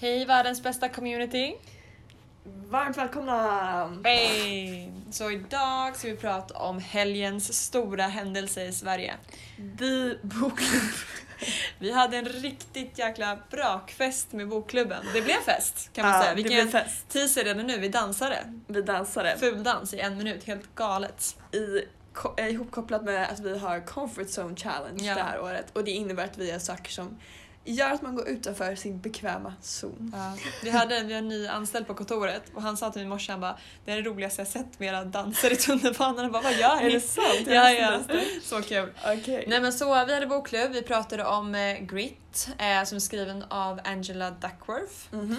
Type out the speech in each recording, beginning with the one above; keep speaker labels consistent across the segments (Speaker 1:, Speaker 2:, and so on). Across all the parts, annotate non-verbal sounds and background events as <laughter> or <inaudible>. Speaker 1: Hej världens bästa community!
Speaker 2: Varmt välkomna!
Speaker 1: Hey! Så idag ska vi prata om helgens stora händelse i Sverige.
Speaker 2: The bokklubb.
Speaker 1: Vi hade en riktigt jäkla brakfest med bokklubben. Det blev fest kan man
Speaker 2: Ja,
Speaker 1: säga.
Speaker 2: det
Speaker 1: Vilken
Speaker 2: blev fest.
Speaker 1: teaser redan nu, vi dansade.
Speaker 2: Vi dansade.
Speaker 1: Fuldans i en minut, helt galet.
Speaker 2: I, ko- eh, ihopkopplat med att vi har comfort zone challenge
Speaker 1: Ja.
Speaker 2: det här året. Och det innebär att vi gör saker som gör att man går utanför sin bekväma zon.
Speaker 1: Vi hade en, vi har en ny anställd på kontoret och han sa till mig i morse, han bara det är det roligaste jag sett med era danser i tunnelbanan. Jag bara vad gör
Speaker 2: Är det
Speaker 1: ni? <laughs>
Speaker 2: sant?
Speaker 1: Ja, ja. Så kul.
Speaker 2: Okej.
Speaker 1: Nej men så, vi hade bokklubb, vi pratade om eh, Grit eh, som är skriven av Angela Duckworth.
Speaker 2: Mhm.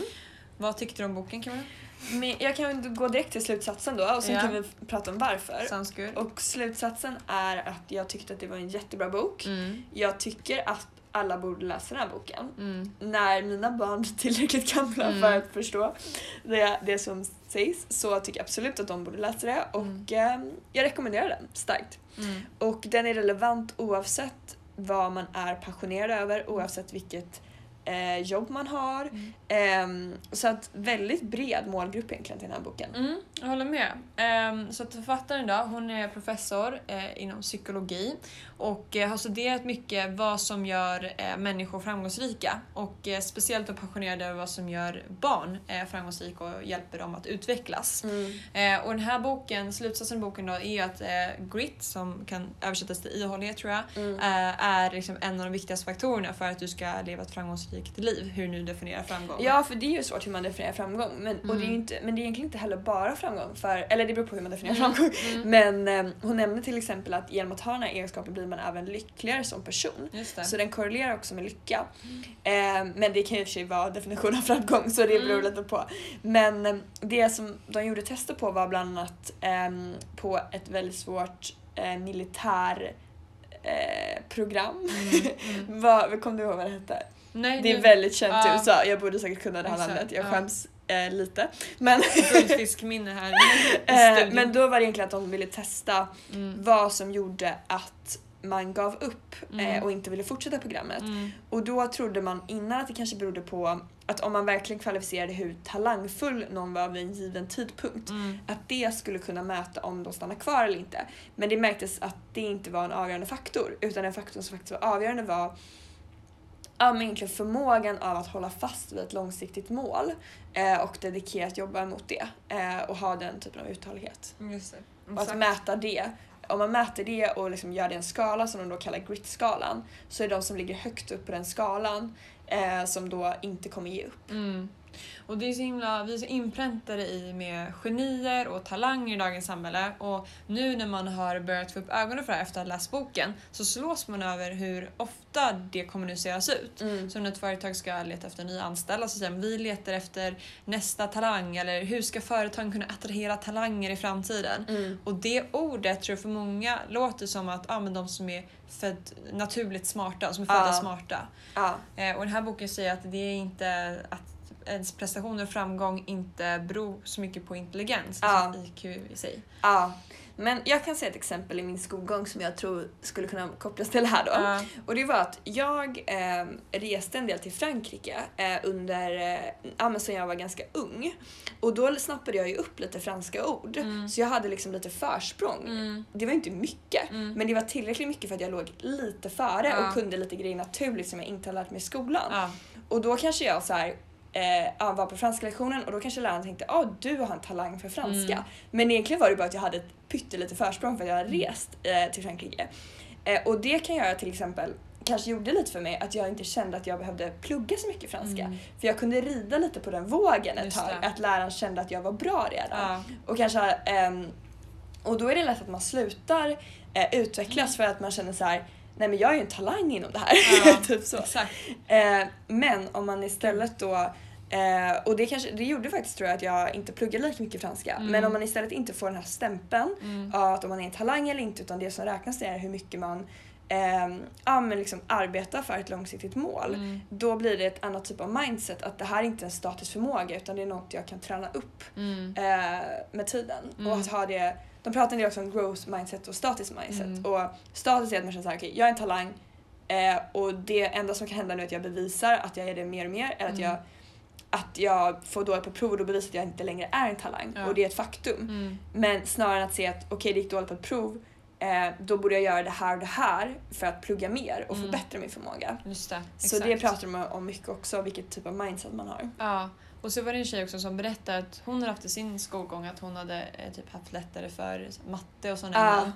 Speaker 1: Vad tyckte du om boken Camilla?
Speaker 2: Men jag kan ju gå direkt till slutsatsen då och sen
Speaker 1: Ja.
Speaker 2: kan vi prata om varför.
Speaker 1: Sounds good.
Speaker 2: Och slutsatsen är att jag tyckte att det var en jättebra bok.
Speaker 1: Mm.
Speaker 2: Jag tycker att alla borde läsa den här boken.
Speaker 1: Mm.
Speaker 2: när mina barn blir tillräckligt gamla
Speaker 1: Mm.
Speaker 2: för att förstå det, det som sägs så tycker jag absolut att de borde läsa det och eh, jag rekommenderar den starkt.
Speaker 1: Mm.
Speaker 2: Och den är relevant oavsett vad man är passionerad över, oavsett vilket eh, jobb man har.
Speaker 1: Mm.
Speaker 2: Ehm, så att väldigt bred målgrupp egentligen till den här boken.
Speaker 1: Mm, jag håller med. Ehm, så att författaren då, hon är professor eh, inom psykologi och eh, har studerat mycket vad som gör eh, människor framgångsrika och eh, speciellt är passionerad över vad som gör barn eh, framgångsrika och hjälper dem att utvecklas.
Speaker 2: Mm.
Speaker 1: Eh, och den här boken, slutsatsen i boken då är att eh, grit, som kan översättas till ihållighet tror jag,
Speaker 2: Mm.
Speaker 1: eh, är liksom en av de viktigaste faktorerna för att du ska leva ett framgångsrikt liv, hur nu definierar framgång.
Speaker 2: Ja, för det är ju svårt hur man definierar framgång. Men, och det är
Speaker 1: Mm.
Speaker 2: ju inte, men det är egentligen inte heller bara framgång. För, eller det beror på hur man definierar
Speaker 1: Mm.
Speaker 2: framgång.
Speaker 1: Mm.
Speaker 2: Men eh, hon nämnde till exempel att genom att ha den här egenskapen blir man även lyckligare som person.
Speaker 1: Just det.
Speaker 2: Så den korrelerar också med lycka.
Speaker 1: Mm.
Speaker 2: Eh, men det kan ju i och för sig vara definitionen av framgång så det beror
Speaker 1: Mm.
Speaker 2: lite på. Men eh, det som de gjorde tester på var bland annat ehm, på ett väldigt svårt eh, militär eh, program. <laughs>
Speaker 1: Mm, mm.
Speaker 2: Vad, kom du ihåg vad det hette?
Speaker 1: Nej,
Speaker 2: Det är
Speaker 1: nu- <laughs>
Speaker 2: väldigt känt i
Speaker 1: Ja.
Speaker 2: USA, jag borde säkert kunna det här
Speaker 1: Exakt,
Speaker 2: namnet, jag
Speaker 1: ja.
Speaker 2: skäms eh, lite. Men,
Speaker 1: guldfiskminne här i
Speaker 2: <laughs> eh,
Speaker 1: studion.
Speaker 2: men då var det egentligen att de ville testa
Speaker 1: mm.
Speaker 2: vad som gjorde att man gav upp
Speaker 1: Mm.
Speaker 2: eh, och inte ville fortsätta programmet.
Speaker 1: Mm.
Speaker 2: Och då trodde man innan att det kanske berodde på att om man verkligen kvalificerade hur talangfull någon var vid en given tidpunkt,
Speaker 1: Mm.
Speaker 2: att det skulle kunna mäta om de stannar kvar eller inte. Men det märktes att det inte var en avgörande faktor, utan den faktorn som faktiskt var avgörande var ja, men egentligen förmågan av att hålla fast vid ett långsiktigt mål eh, och dedikerat jobba mot det eh, och ha den typen av uthållighet.
Speaker 1: Just det.
Speaker 2: Mm. Och att mäta det. Om man mäter det och liksom gör det i en skala som de då kallar grit-skalan så är de som ligger högt upp på den skalan eh, som då inte kommer ge upp.
Speaker 1: Mm. Och det är så himla, vi är så inpräntade i med genier och talanger i dagens samhälle och nu när man har börjat få upp ögonen för det här efter att ha läst boken så slås man över hur ofta det kommuniceras ut. Så när ett företag ska leta efter nya anställda så säger man vi letar efter nästa talang eller hur ska företag kunna attrahera talanger i framtiden?
Speaker 2: Mm.
Speaker 1: Och det ordet tror jag för många låter som att ah, men de som är född, naturligt smarta, som är födda
Speaker 2: Ja.
Speaker 1: smarta.
Speaker 2: Ja.
Speaker 1: Eh, och den här boken säger att det är inte att ens prestationer och framgång inte beror så mycket på intelligens,
Speaker 2: Ja.
Speaker 1: alltså IQ i sig.
Speaker 2: ja. Men jag kan säga ett exempel i min skolgång som jag tror skulle kunna kopplas till det här då.
Speaker 1: Ja.
Speaker 2: Och det var att jag eh, reste en del till Frankrike eh, under, eh, ja men sen jag var ganska ung. Och då snappade jag ju upp lite franska ord.
Speaker 1: Mm.
Speaker 2: Så jag hade liksom lite försprång.
Speaker 1: Mm.
Speaker 2: Det var inte mycket,
Speaker 1: Mm.
Speaker 2: men det var tillräckligt mycket för att jag låg lite före
Speaker 1: Ja.
Speaker 2: och kunde lite grejer naturligt som jag inte hade lärt mig i skolan.
Speaker 1: Ja.
Speaker 2: Och då kanske jag så här, eh, ja, var på franska lektionen och då kanske läraren tänkte ah du har en talang för franska.
Speaker 1: Mm.
Speaker 2: Men egentligen var det bara att jag hade ett pyttelite försprång för att jag hade rest eh, till Frankrike. Eh, och det kan göra till exempel, kanske gjorde lite för mig, att jag inte kände att jag behövde plugga så mycket franska.
Speaker 1: Mm.
Speaker 2: För jag kunde rida lite på den vågen ett
Speaker 1: Just
Speaker 2: tag,
Speaker 1: det.
Speaker 2: att läraren kände att jag var bra redan.
Speaker 1: Ja.
Speaker 2: Och kanske ehm, och då är det lätt att man slutar eh, utvecklas för att man känner så här nej men jag är ju en talang inom det här.
Speaker 1: Ja.
Speaker 2: <laughs> typ så.
Speaker 1: Exakt.
Speaker 2: Eh, men om man istället då eh, och det, kanske, det gjorde faktiskt tror jag att jag inte pluggade lika mycket franska.
Speaker 1: Mm.
Speaker 2: Men om man istället inte får den här stämpeln
Speaker 1: Mm.
Speaker 2: av att om man är en talang eller inte utan det som räknas är hur mycket man ehm, ja, men liksom arbetar för ett långsiktigt mål.
Speaker 1: Mm.
Speaker 2: Då blir det ett annat typ av mindset att det här är inte en statisk förmåga utan det är något jag kan träna upp
Speaker 1: Mm.
Speaker 2: eh, med tiden.
Speaker 1: Mm.
Speaker 2: Och att ha det, de pratar en del också om growth mindset och status mindset.
Speaker 1: Mm.
Speaker 2: Och status är att man känner såhär, okej jag är en talang eh, och det enda som kan hända nu är att jag bevisar att jag är det mer och mer eller att
Speaker 1: Mm.
Speaker 2: jag att jag får dåligt på prov och då bevisar att jag inte längre är en talang
Speaker 1: Ja.
Speaker 2: och det är ett faktum.
Speaker 1: Mm.
Speaker 2: Men snarare än att se att okej det gick dåligt på ett prov, eh, då borde jag göra det här och det här för att plugga mer och
Speaker 1: Mm.
Speaker 2: förbättra min förmåga.
Speaker 1: Just det. Exakt.
Speaker 2: Så det pratar de om mycket också, vilket typ av mindset man har.
Speaker 1: Ja, och så var det en tjej också som berättade att hon hade haft i sin skolgång att hon hade eh, typ haft lättare för matte och sådana
Speaker 2: Ja.
Speaker 1: ämnen.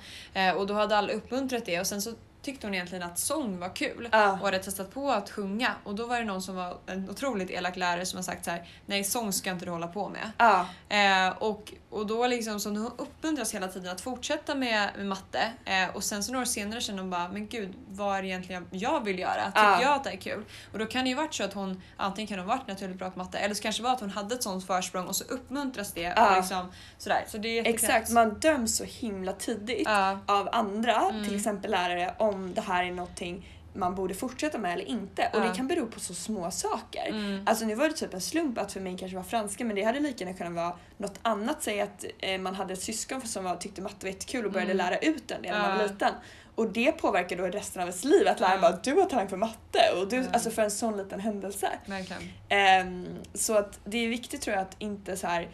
Speaker 1: Eh, och då hade alla uppmuntrat det och sen så tyckte hon egentligen att sång var kul
Speaker 2: Ja.
Speaker 1: och hade testat på att sjunga och då var det någon som var en otroligt elak lärare som har sagt så här: nej sång ska inte du hålla på med.
Speaker 2: Ja.
Speaker 1: Eh, och, och då liksom som hon uppmuntras hela tiden att fortsätta med, med matte eh, och sen så några år senare känner hon bara, men gud vad är det egentligen jag vill göra? Tycker
Speaker 2: Ja.
Speaker 1: jag att det är kul? Och då kan det ju varit så att hon antingen kan hon varit naturligt bra på matte eller så kanske det var att hon hade ett sånt försprång och så uppmuntras det.
Speaker 2: Ja.
Speaker 1: Och liksom, sådär. Så det är
Speaker 2: Exakt,
Speaker 1: Man...
Speaker 2: man döms så himla tidigt
Speaker 1: Ja,
Speaker 2: av andra,
Speaker 1: Mm.
Speaker 2: till exempel lärare, om det här är någonting man borde fortsätta med eller inte. Och
Speaker 1: Ja.
Speaker 2: det kan bero på så små saker.
Speaker 1: mm,
Speaker 2: Alltså nu var det typ en slump att för mig kanske var franska men det hade lika gärna kunnat vara något annat. Säg att eh, man hade ett syskon som var, tyckte matte var jättekul och började
Speaker 1: Mm.
Speaker 2: lära ut den när man var
Speaker 1: Ja.
Speaker 2: liten. Och det påverkar då resten av ens liv att läraren
Speaker 1: Ja.
Speaker 2: bara du har talang för matte och du,
Speaker 1: Ja.
Speaker 2: alltså för en sån liten händelse.
Speaker 1: verkligen.
Speaker 2: Ehm, så att det är viktigt tror jag att inte så här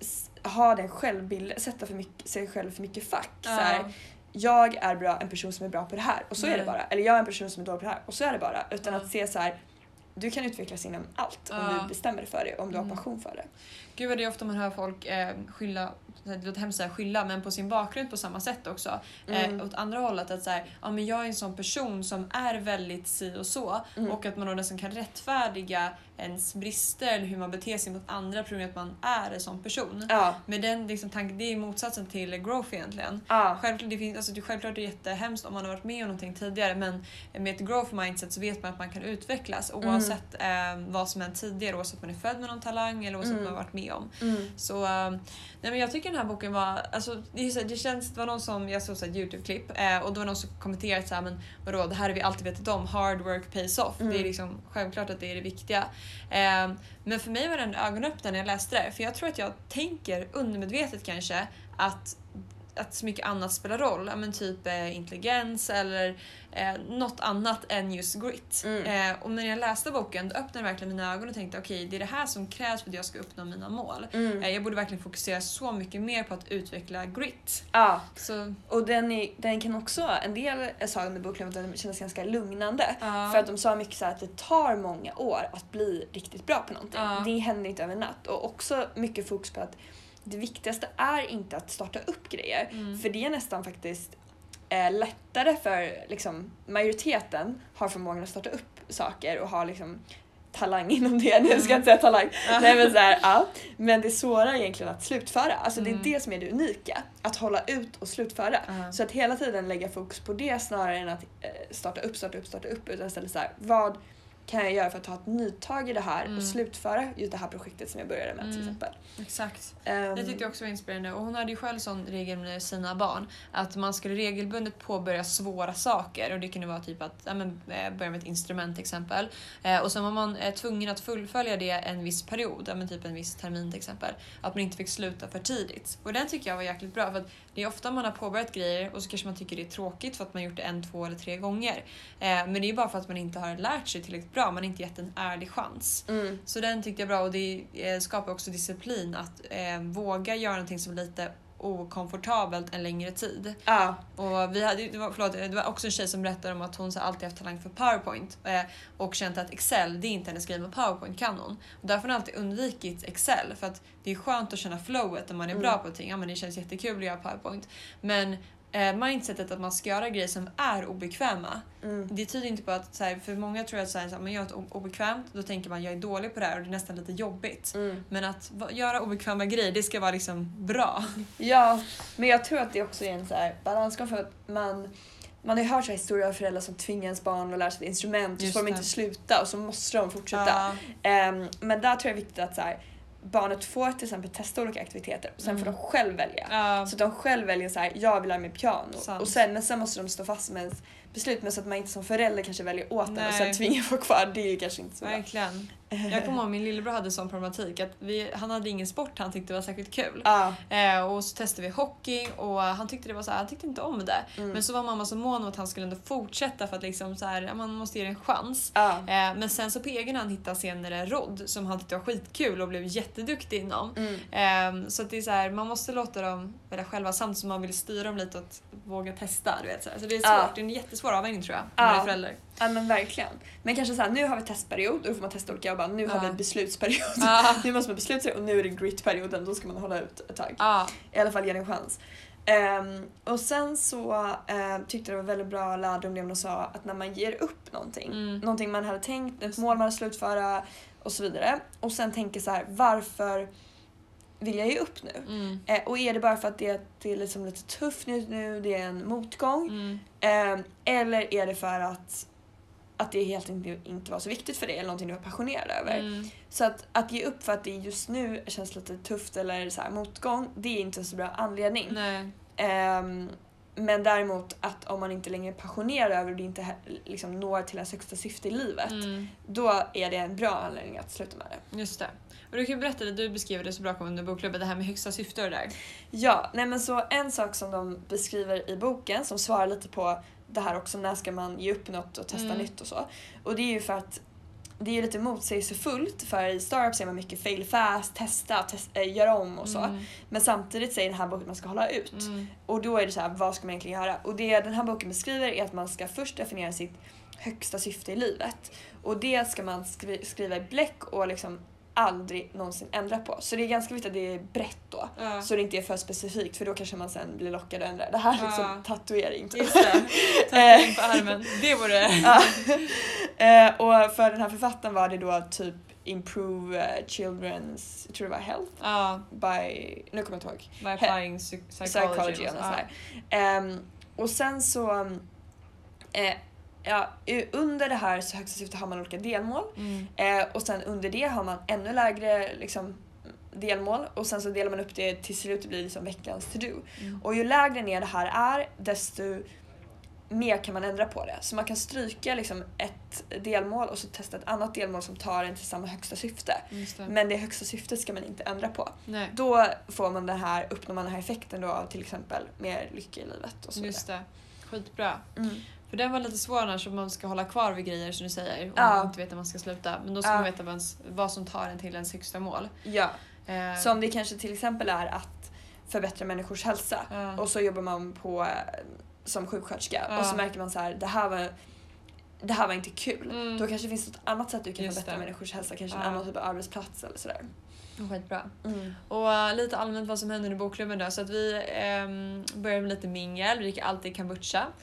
Speaker 2: s- ha den självbilden, sätta för mycket, sig själv för mycket fack. Så här, jag är bra, en person som är bra på det här och så är det
Speaker 1: Nej.
Speaker 2: bara. Eller jag är en person som är dålig på det här och så är det bara. Utan
Speaker 1: Mm. Ja.
Speaker 2: att se så här du kan utvecklas inom allt om
Speaker 1: Ja.
Speaker 2: du bestämmer dig för det, om du har
Speaker 1: Mm.
Speaker 2: passion för det.
Speaker 1: Gud vad det är ofta man hör folk eh, skylla, det låter hemskt att säga skylla, men på sin bakgrund på samma sätt också.
Speaker 2: Mm.
Speaker 1: Eh, åt andra hållet att så här, ja, men jag är en sån person som är väldigt si och så
Speaker 2: Mm.
Speaker 1: och att man då nästan kan rättfärdiga ens brister eller hur man beter sig mot andra på grund av att man är en sån person.
Speaker 2: Ja,
Speaker 1: Men den liksom, tanken, det är motsatsen till growth egentligen.
Speaker 2: ja,
Speaker 1: Självklart, det finns, alltså, det, självklart är det jättehemskt om man har varit med om någonting tidigare men med ett growth mindset så vet man att man kan utvecklas
Speaker 2: Mm.
Speaker 1: oavsett eh, vad som hänt tidigare, oavsett om man är född med någon talang eller oavsett
Speaker 2: Mm.
Speaker 1: vad man har varit med om.
Speaker 2: mm.
Speaker 1: Så, eh, nej men jag tycker den här boken var, alltså, det, är så, det känns, det var någon som, jag såg så här ett Youtube-klipp eh, och då var någon som kommenterade så här, men vadå det här har vi alltid vetat om, hard work pays off.
Speaker 2: Mm.
Speaker 1: Det är liksom självklart att det är det viktiga. Eh, men för mig var den ögonöppnare när jag läste det för jag tror att jag tänker undermedvetet kanske att att så mycket annat spelar roll, ja, men typ eh, intelligens eller eh, något annat än just grit.
Speaker 2: Mm.
Speaker 1: Eh, och när jag läste boken då öppnade jag verkligen mina ögon och tänkte okej, det är det här som krävs för att jag ska uppnå mina mål.
Speaker 2: Mm.
Speaker 1: Eh, Jag borde verkligen fokusera så mycket mer på att utveckla grit.
Speaker 2: Ja,
Speaker 1: Så,
Speaker 2: och den, är, den kan också, en del sa under boken att den kändes ganska lugnande.
Speaker 1: ja.
Speaker 2: För att de sa mycket så här att det tar många år att bli riktigt bra på någonting.
Speaker 1: Ja.
Speaker 2: Det händer inte över en natt. Och också mycket fokus på att det viktigaste är inte att starta upp grejer.
Speaker 1: Mm.
Speaker 2: För det är nästan faktiskt eh, lättare för liksom, majoriteten har förmågan att starta upp saker och har liksom talang <laughs> inom det. Nu
Speaker 1: Mm.
Speaker 2: ska jag inte
Speaker 1: <laughs>
Speaker 2: säga talang. Nej, men, så här, ja. men det svåra är egentligen att slutföra. Alltså,
Speaker 1: Mm.
Speaker 2: Det är det som är det unika. Att hålla ut och slutföra.
Speaker 1: Ja.
Speaker 2: Så att hela tiden lägga fokus på det snarare än att eh, starta upp, starta upp, starta upp. Utan istället så här, vad kan jag göra för att ta ett nytag i det här
Speaker 1: Mm.
Speaker 2: och slutföra just det här projektet som jag började med till
Speaker 1: Mm.
Speaker 2: exempel.
Speaker 1: Exakt.
Speaker 2: Ehm,
Speaker 1: Det tyckte jag också var inspirerande och hon hade ju själv sån regel med sina barn att man skulle regelbundet påbörja svåra saker och det kunde vara typ att ja, men, eh, börja med ett instrument till exempel Eh, och sen var man eh, tvungen att fullfölja det en viss period, ja, men typ en viss termin till exempel, att man inte fick sluta för tidigt. Och den tycker jag var jäkligt bra för att det är ofta man har påbörjat grejer och så kanske man tycker det är tråkigt för att man gjort det en, två eller tre gånger. Eh, Men det är bara för att man inte har lärt sig tillräckligt bra, man har inte gett en ärlig chans.
Speaker 2: mm.
Speaker 1: Så den tyckte jag bra och det eh, skapar också disciplin att eh, våga göra någonting som är lite okomfortabelt en längre tid.
Speaker 2: Ja,
Speaker 1: Och vi hade, ju- det, var, förlåt, det var också en tjej som berättade om att hon så alltid haft talang för powerpoint eh, och känt att Excel, det är inte hennes grej men powerpoint kan hon. Och därför har hon alltid undvikit Excel för att det är skönt att känna flowet när man är
Speaker 2: Mm.
Speaker 1: bra på ting. Ja, men det känns jättekul att göra powerpoint. Men eh, mindsetet att man ska göra grejer som är obekväma
Speaker 2: mm.
Speaker 1: det tyder inte på att, så här, för många tror att så här, så här, man gör något o- obekvämt, då tänker man jag är dålig på det här och det är nästan lite jobbigt.
Speaker 2: Mm.
Speaker 1: Men att va- göra obekväma grejer, det ska vara liksom bra.
Speaker 2: Ja, men jag tror att det också är en så här balansgång för att man man har ju hört så här historier av föräldrar som tvingar ens barn att lära sig ett instrument och
Speaker 1: Just
Speaker 2: så får de
Speaker 1: det.
Speaker 2: inte sluta och så måste de fortsätta. Ehm, men där tror jag det är viktigt att så här, barnet får till exempel testa olika aktiviteter och sen får
Speaker 1: Mm.
Speaker 2: de själv välja.
Speaker 1: Ja,
Speaker 2: Så att Alltså, de själv väljer så här, jag vill lära mig piano.
Speaker 1: Sant.
Speaker 2: Och sen, men sen måste de stå fast med ens beslut men så att man inte som förälder kanske väljer åt en och
Speaker 1: Nej.
Speaker 2: sen tvingar folk kvar. Det är ju kanske inte så bra. <laughs>
Speaker 1: verkligen. Jag kommer ihåg min lillebror hade sån problematik att vi, han hade ingen sport han tyckte var särskilt kul.
Speaker 2: Ja,
Speaker 1: Eh, och så testade vi hockey och han tyckte det var så här, han tyckte inte om det.
Speaker 2: Mm.
Speaker 1: Men så var mamma så mån om att han skulle ändå fortsätta för att liksom så här, ja, man måste ge det en chans.
Speaker 2: ja.
Speaker 1: Eh, men sen så på egen hand hittade han senare rodd som han tyckte var skitkul och blev jätteduktig inom.
Speaker 2: Mm.
Speaker 1: Ehm, så att det är så här, man måste låta dem välja själva samtidigt som man vill styra dem lite att våga testa. Du vet, så, här. så det är svårt,
Speaker 2: Ja.
Speaker 1: det är en jättesvår avvägning tror jag. om
Speaker 2: Ja.
Speaker 1: man är förälder.
Speaker 2: ja men verkligen. Men kanske såhär, nu har vi testperiod, då får man testa olika och bara nu har
Speaker 1: Ja.
Speaker 2: vi beslutsperiod.
Speaker 1: Ja.
Speaker 2: <laughs> Nu måste man besluta sig och nu är det gritperioden, då ska man hålla ut ett tag.
Speaker 1: Ja.
Speaker 2: I alla fall ge det en chans. Ehm, och sen så eh, tyckte jag det var väldigt bra lärdom det hon sa att när man ger upp någonting,
Speaker 1: Mm.
Speaker 2: någonting man hade tänkt, ett mål man hade slutföra och så vidare. Och sen tänker så här, varför vill jag ge upp nu?
Speaker 1: Mm.
Speaker 2: Eh, och är det bara för att det, det är liksom lite tufft nu, nu, det är en motgång?
Speaker 1: Mm.
Speaker 2: Ehm, eller är det för att, att det helt enkelt inte var så viktigt för dig eller någonting du var passionerad över?
Speaker 1: Mm.
Speaker 2: Så att, att ge upp för att det just nu känns lite tufft eller så här motgång, det är inte en så bra anledning.
Speaker 1: Nej.
Speaker 2: Ehm, men däremot att om man inte längre är passionerad över och det inte he- liksom når till ens högsta syfte i livet,
Speaker 1: Mm.
Speaker 2: då är det en bra anledning att sluta med det.
Speaker 1: Just det. Och du kan ju berätta det, du beskriver det så bra kom under bokklubben, det här med högsta syfte och det där.
Speaker 2: Ja, nej men så en sak som de beskriver i boken som svarar lite på det här också, när ska man ge upp något och testa
Speaker 1: Mm.
Speaker 2: nytt och så. Och det är ju för att det är ju lite motsägelsefullt för i startups är man mycket fail fast, testa, tes- eh, göra om och så.
Speaker 1: Mm.
Speaker 2: Men samtidigt säger den här boken att man ska hålla ut.
Speaker 1: Mm.
Speaker 2: Och då är det så här, vad ska man egentligen göra? Och det den här boken beskriver är att man ska först definiera sitt högsta syfte i livet. Och det ska man skri- skriva i bläck och liksom aldrig någonsin ändra på. Så det är ganska viktigt att det är brett då.
Speaker 1: Ja.
Speaker 2: Så det inte är för specifikt för då kanske man sen blir lockad att ändra. Det här är liksom
Speaker 1: Ja.
Speaker 2: tatuering. typ.
Speaker 1: Just det. Tatuering på armen. Det vore...
Speaker 2: Ja. <laughs> Eh, och för den här författaren var det då typ Improve eh, Children's, jag tror det var Health
Speaker 1: Ja,
Speaker 2: by, nu kommer jag inte ihåg.
Speaker 1: by applying psy- psychology.
Speaker 2: psychology och
Speaker 1: och så.
Speaker 2: sånt där. Ehm, och sen så... eh, ja, u- under det här så högsta syftet har man olika delmål.
Speaker 1: Ja. Mm.
Speaker 2: Eh, och sen under det har man ännu lägre liksom, delmål. Och sen så delar man upp det till slut det blir liksom veckans to-do.
Speaker 1: Mm.
Speaker 2: Och ju lägre ner det här är desto mer kan man ändra på det. Så man kan stryka liksom, ett delmål och så testa ett annat delmål som tar en till samma högsta syfte.
Speaker 1: Just det.
Speaker 2: Men det högsta syftet ska man inte ändra på
Speaker 1: Nej,
Speaker 2: då får man den här, uppnår man den här effekten då av till exempel mer lycka i livet och så vidare.
Speaker 1: just det. Skitbra.
Speaker 2: Mm.
Speaker 1: För den var lite svår annars om man ska hålla kvar vid grejer som du säger och
Speaker 2: Ja.
Speaker 1: man inte vet när man ska sluta. Men då ska
Speaker 2: Ja.
Speaker 1: man veta vad, ens, vad som tar en till ens högsta mål.
Speaker 2: Ja,
Speaker 1: Eh,
Speaker 2: så om det kanske till exempel är att förbättra människors hälsa
Speaker 1: ja.
Speaker 2: och så jobbar man på eh, som sjuksköterska
Speaker 1: Mm. Ja.
Speaker 2: och så märker man så här, det här var det här var inte kul.
Speaker 1: Mm.
Speaker 2: Då kanske finns det ett annat sätt du kan
Speaker 1: Just
Speaker 2: förbättra
Speaker 1: det.
Speaker 2: människors hälsa, kanske
Speaker 1: Ja.
Speaker 2: en annan typ av arbetsplats eller sådär.
Speaker 1: Skitbra.
Speaker 2: Mm.
Speaker 1: Och eh, lite allmänt vad som hände under bokklubben då. Så att vi ehm, började med lite mingel, vi dricker alltid kombucha. <laughs>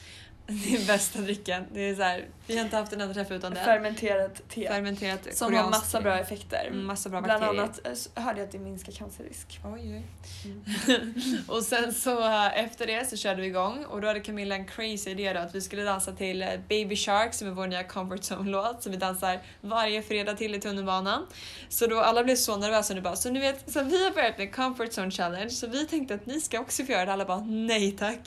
Speaker 1: Det är bästa drickan. Det är så här, vi har inte haft en enda träff utan den.
Speaker 2: Fermenterat te
Speaker 1: Fermenterat
Speaker 2: som har
Speaker 1: koreanskt
Speaker 2: massa
Speaker 1: te.
Speaker 2: bra effekter.
Speaker 1: Mm, Massa bra
Speaker 2: Bland
Speaker 1: bakterier.
Speaker 2: annat eh, så hörde jag att det minskar cancerrisk.
Speaker 1: Oj, oj. <laughs> och sen så eh, efter det så körde vi igång och då hade Camilla en crazy idé då att vi skulle dansa till eh, Baby Shark som är vår nya comfort zone-låt som vi dansar varje fredag till i tunnelbanan. Så då alla blev så nervösa nu bara så ni vet, så vi har börjat med comfort zone challenge så vi tänkte att ni ska också få göra det. Alla bara nej <laughs> tack.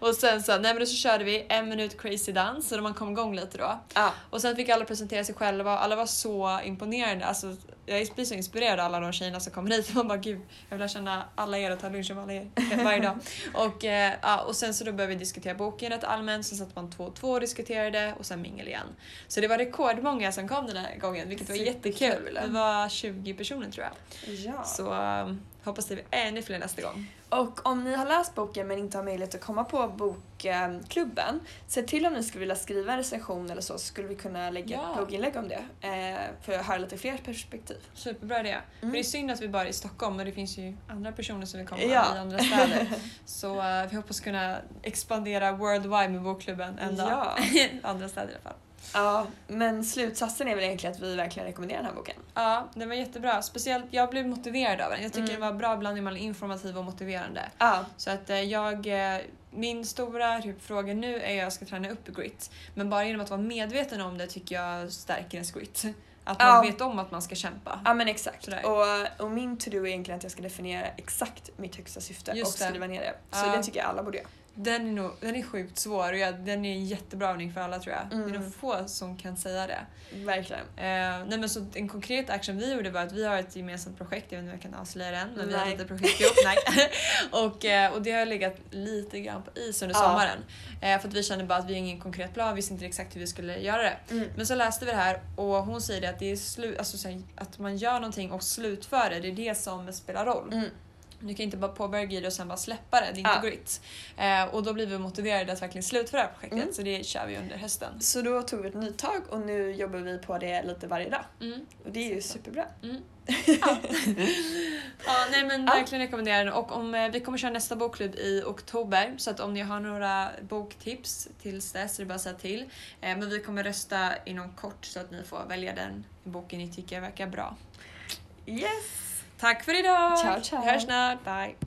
Speaker 1: och sen så, nej men då så körde vi en minut crazy dans så man kom igång lite då.
Speaker 2: Ja.
Speaker 1: Och sen fick alla presentera sig själva och alla var så imponerande. Alltså, jag blir så inspirerad av alla de tjejerna som kommer hit. <laughs> Man bara gud, jag vill lära känna alla er och ta lunch med alla er varje dag. Och, eh, ja, och sen så då började vi diskutera boken rätt allmänt, sen satt man två och två och diskuterade och sen mingel igen. Så det var rekordmånga som kom den här gången vilket var jättekul.
Speaker 2: Superkul.
Speaker 1: Det var 20 personer tror jag.
Speaker 2: Ja.
Speaker 1: Så eh, hoppas det blir ännu fler nästa gång.
Speaker 2: Och om ni har läst boken men inte har möjlighet att komma på bokklubben, se till om ni skulle vilja skriva en recension eller så, så skulle vi kunna lägga
Speaker 1: Ja.
Speaker 2: ett blogginlägg om det. Eh, för att höra lite fler perspektiv.
Speaker 1: Superbra idé. För
Speaker 2: Mm.
Speaker 1: det är synd att vi bara är i Stockholm men det finns ju andra personer som vill komma
Speaker 2: Ja.
Speaker 1: i andra
Speaker 2: <laughs>
Speaker 1: städer. Så eh, vi hoppas kunna expandera worldwide med bokklubben en dag.
Speaker 2: Ja.
Speaker 1: andra städer <laughs> i alla fall.
Speaker 2: ja, men slutsatsen är väl egentligen att vi verkligen rekommenderar den här boken.
Speaker 1: Ja, den var jättebra. Speciellt, jag blev motiverad av den. Jag tycker
Speaker 2: Mm.
Speaker 1: den var bra blandning mellan informativ och motiverande.
Speaker 2: Ja,
Speaker 1: Så att eh, jag, eh, min stora typ, fråga nu är att jag ska träna upp grit. Men bara genom att vara medveten om det tycker jag stärker ens grit. Att man
Speaker 2: Ja.
Speaker 1: vet om att man ska kämpa.
Speaker 2: ja men exakt.
Speaker 1: Sådär.
Speaker 2: Och, och min to-do är egentligen att jag ska definiera exakt mitt högsta syfte
Speaker 1: Just
Speaker 2: och
Speaker 1: det.
Speaker 2: skriva ner det. Så
Speaker 1: Ja.
Speaker 2: det tycker jag alla borde göra.
Speaker 1: Den är, nog, den är sjukt svår och jag, den är en jättebra övning för alla tror jag.
Speaker 2: Mm.
Speaker 1: Det är nog få som kan säga det.
Speaker 2: Verkligen.
Speaker 1: Eh, nej men så en konkret action vi gjorde var att vi har ett gemensamt projekt, jag vet inte om jag kan avslöja den, men vi har
Speaker 2: Nej.
Speaker 1: ett litet projekt ihop. Nej. <laughs> och, eh, och det har legat lite grann på is under
Speaker 2: Ja.
Speaker 1: sommaren. Eh, för att vi kände bara att vi har ingen konkret plan, vi visste inte exakt hur vi skulle göra det.
Speaker 2: Mm.
Speaker 1: Men så läste vi det här och hon säger det att, det är slu- alltså, så här, att man gör någonting och slutför det, det är det som spelar roll.
Speaker 2: Mm.
Speaker 1: Du kan inte bara påbörja grejer och sen bara släppa det, det är inte
Speaker 2: Ja.
Speaker 1: grit. Eh, och då blir vi motiverade att verkligen slutföra det här projektet
Speaker 2: Mm.
Speaker 1: så det kör vi under hösten.
Speaker 2: Så då tog vi ett nytag och nu jobbar vi på det lite varje dag.
Speaker 1: Mm.
Speaker 2: Och det är ju superbra.
Speaker 1: Ja, nej men
Speaker 2: Ja.
Speaker 1: verkligen rekommenderar den och om, eh, vi kommer köra nästa bokklubb i oktober så att om ni har några boktips tills dess så är det bara att säga till. Eh, men vi kommer rösta inom kort så att ni får välja den boken ni tycker verkar bra.
Speaker 2: Yes!
Speaker 1: Tack för idag!
Speaker 2: Ciao, ciao.
Speaker 1: Vi hörs snart, bye!